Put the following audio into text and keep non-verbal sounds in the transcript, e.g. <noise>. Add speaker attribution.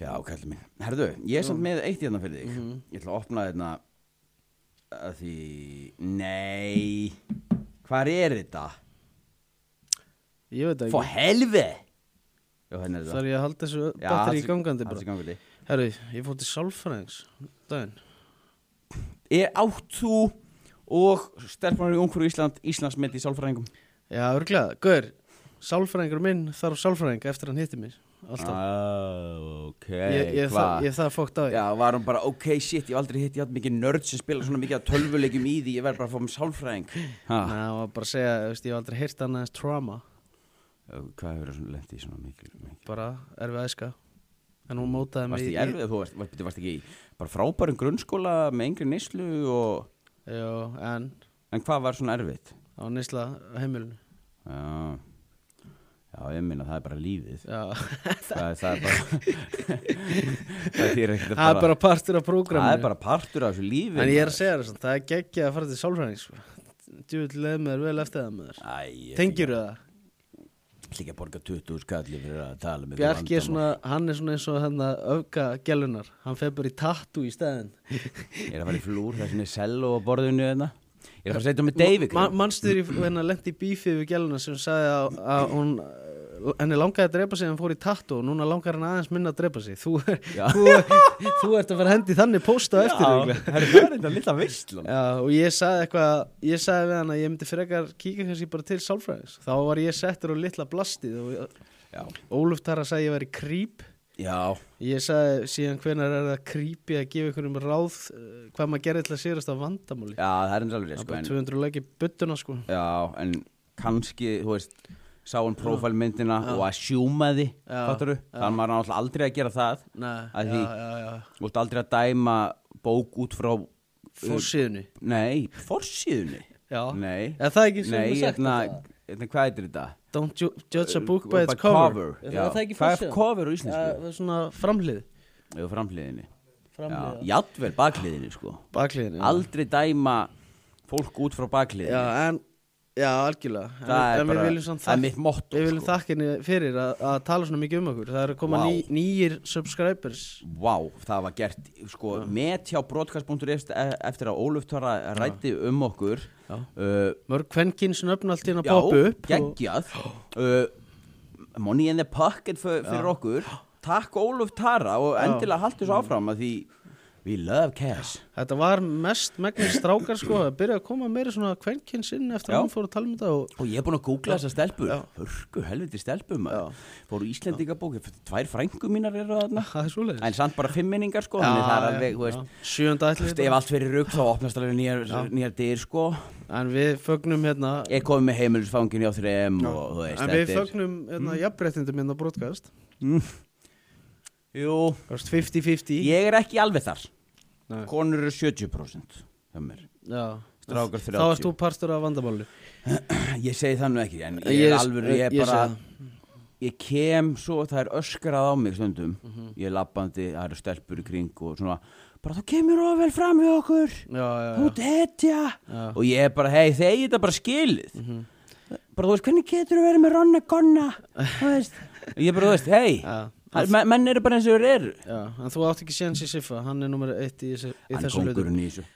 Speaker 1: Já, kallið minn. Herðu, ég er samt með eitt hérna fyrir þig.
Speaker 2: Mhm.
Speaker 1: Ég ætla að opna hérna að því... Nei, hvar er þetta?
Speaker 2: Ég veit það
Speaker 1: Fó
Speaker 2: ekki
Speaker 1: helvi! Já, hérna er þetta.
Speaker 2: Þar ég að halda þessu
Speaker 1: Já,
Speaker 2: batteri í
Speaker 1: haltu-
Speaker 2: gangandi
Speaker 1: haltu
Speaker 2: bara
Speaker 1: í gangandi.
Speaker 2: Herru, ég fór til sálfræðings Daginn
Speaker 1: Er átt þú og stelpunar í Ungfrú Ísland, Íslandsmynd í sálfræðingum?
Speaker 2: Já, örglega, gaur Sálfræðingur minn þarf sálfræðing eftir hann hitti mig Alltaf
Speaker 1: Ah, ok,
Speaker 2: Ég, ég, er það, ég er það fókt á því
Speaker 1: Já, var hún bara, ok, shit, ég hef aldrei hitt, ég hatt mikið nörd sem spila svona mikið að tölvuleikjum í því, ég verð bara að fá mér sálfræðing. Ha,
Speaker 2: Nei, það var bara að segja, þú veist, ég hef aldrei heyrt annað eins trauma
Speaker 1: hvað hefur það lent í svona mikil, mikil?
Speaker 2: Bara erfið æska En hún mótaði mig
Speaker 1: Varst í erfið, þú varst, varst, varst ekki í bara frábærum grunnskóla með engri neyslu og,
Speaker 2: Jó, en
Speaker 1: en hvað var svona erfitt?
Speaker 2: á nýsla heimilinu
Speaker 1: Já, já, ég minna það er bara lífið. <laughs>
Speaker 2: Já,
Speaker 1: Það, það er bara, <laughs> það þýr ekkert
Speaker 2: það er bara partur af prógraminu
Speaker 1: það er bara partur af þessu lífi.
Speaker 2: En ég er að segja þér svona, það er geggjað að fara til sálfræðing sko. Djúvill leið með þér vel eftir það með þér
Speaker 1: Æ,
Speaker 2: Tengir það?
Speaker 1: Ég ætla ekki að borga 20 skalli fyrir að tala með
Speaker 2: Bjarki er svona, hann er svona eins og hérna öfga gelunar, hann fer bara í tattu í stæðin
Speaker 1: Ég er að fara í flúr, það er svona sello á borðinu hérna. Ég er að fara að setja með David.
Speaker 2: Ma Manstuður í hérna lendi í bífið við gelunar sem sagði að, að hún uh, henni langaði að drepa sig en fór í tattu og núna langar hann aðeins minna að drepa sig Þú, er,
Speaker 1: Já.
Speaker 2: þú, þú ert að fara að hendi þannig posta eftir
Speaker 1: Já,
Speaker 2: örugglega.
Speaker 1: herri, það er þetta lilla veistlan.
Speaker 2: Já, og ég sagði eitthvað, ég sagði við hann að ég myndi frekar kíka kannski bara til sálfræðis þá var ég settur á litla blastið og
Speaker 1: Já.
Speaker 2: Óluf Tara sagði ég væri krýp
Speaker 1: Já,
Speaker 2: ég sagði síðan hvenar er það krýpi að gefa einhverjum ráð uh, hvað maður gerir til að sérast á vandamáli
Speaker 1: já, það er eins alveg
Speaker 2: það
Speaker 1: rétt,
Speaker 2: er
Speaker 1: sko,
Speaker 2: bara
Speaker 1: en
Speaker 2: 200 leiki buttuna sko
Speaker 1: Já, en kannski, þú veist sá hann prófælmyndina og að sjúma því
Speaker 2: Já,
Speaker 1: fattaru, þannig maður er náttúrulega aldrei að gera það
Speaker 2: Nei,
Speaker 1: Að
Speaker 2: já,
Speaker 1: því-
Speaker 2: já, já,
Speaker 1: þú veist aldrei að dæma bók út frá
Speaker 2: fórsíðunni
Speaker 1: nei, forsíðunni
Speaker 2: já,
Speaker 1: nei,
Speaker 2: eða það er ekki sem
Speaker 1: nei,
Speaker 2: við sagt
Speaker 1: hérna,
Speaker 2: það?
Speaker 1: hérna, hvað heitir þetta?
Speaker 2: don't ju- judge a book by its cover, Er
Speaker 1: Uh, já.
Speaker 2: það það ekki
Speaker 1: hvað er
Speaker 2: forsíðan
Speaker 1: cover á
Speaker 2: Já,
Speaker 1: íslensku?
Speaker 2: það er svona framlið
Speaker 1: eða framhliðinni
Speaker 2: framlið, já,
Speaker 1: játvel bakliðinni sko
Speaker 2: bakliðin já.
Speaker 1: aldrei dæma fólk út frá bakliðinni
Speaker 2: já, en, já, algjörlega En-
Speaker 1: það er
Speaker 2: en við
Speaker 1: bara,
Speaker 2: viljum
Speaker 1: það
Speaker 2: samt
Speaker 1: er
Speaker 2: þakka-
Speaker 1: mitt motto
Speaker 2: Við viljum
Speaker 1: sko.
Speaker 2: þakka henni fyrir að, að tala svona mikið um okkur Það eru að koma
Speaker 1: Vá.
Speaker 2: ný, nýjir subscribers
Speaker 1: Vá, það var gert sko, met hjá broadcast.is e, eftir að Óluf Tóra rætti um okkur
Speaker 2: Já.
Speaker 1: uh,
Speaker 2: Mörg kvenkins nöfn allt hérna
Speaker 1: Já,
Speaker 2: poppa upp og,
Speaker 1: geggjað uh, Money in the pocket fyr, fyrir okkur Takk Óluf Tara og endilega haltu svo áfram að því We love cash
Speaker 2: Þetta var mest megnir strákar sko að byrja að koma meira svona kvenkins inn eftir
Speaker 1: Já.
Speaker 2: að hún fór að tala um þetta og
Speaker 1: Og ég er búin að googla þessa stelpur
Speaker 2: Já.
Speaker 1: Hörku helviti stelpum
Speaker 2: Já.
Speaker 1: Fóru Íslendingabóki, tvær frængu mínar eru þarna
Speaker 2: það er svoleiðis
Speaker 1: En samt bara fimminningar sko
Speaker 2: Já,
Speaker 1: Þannig það er
Speaker 2: já,
Speaker 1: alveg, þú
Speaker 2: já.
Speaker 1: veist Þú
Speaker 2: Sjöunda ætli
Speaker 1: veist, ef allt fyrir rugg þá opnast alveg nýjar, nýjar dyr sko
Speaker 2: En við fögnum hérna
Speaker 1: Ég kom með heimilisfangin hjá 3M og þú veist, Hmm?
Speaker 2: En við fögnum hérna jafnréttindum hérna á broadcast
Speaker 1: Jú,
Speaker 2: Þú veist, 50-50
Speaker 1: ég er ekki alveg þar.
Speaker 2: Nei.
Speaker 1: Konur eru 70% hjá mér. <clears throat>
Speaker 2: Já
Speaker 1: Strákar
Speaker 2: Þá ert þú
Speaker 1: 30.
Speaker 2: partur af vandamáli
Speaker 1: Ég segi það nú ekki, en ég er alveg, ég er bara, ég kem svo, það er öskrað á mig stundum.
Speaker 2: Mhm.
Speaker 1: Ég er labbandi, það eru stelpur í kring og svona, bara þú kemur ofvel fram við okkur,
Speaker 2: Já, já,
Speaker 1: þú
Speaker 2: já
Speaker 1: detja.
Speaker 2: Já. Mhm.
Speaker 1: Og ég er bara, hei, þegi þetta bara skilið. Bara þú veist, hvernig getur þú verið með ronna
Speaker 2: <laughs>
Speaker 1: gonna, þú veist. Ég bara, þú veist, hei,
Speaker 2: Já.
Speaker 1: menn menn eru bara eins og þeir eru.
Speaker 2: Já, en þú átt ekki séns í Siffa, hann er nummer eitt í, þessu- í
Speaker 1: Hann er
Speaker 2: þessu hlutum.
Speaker 1: kongurinn í þessu.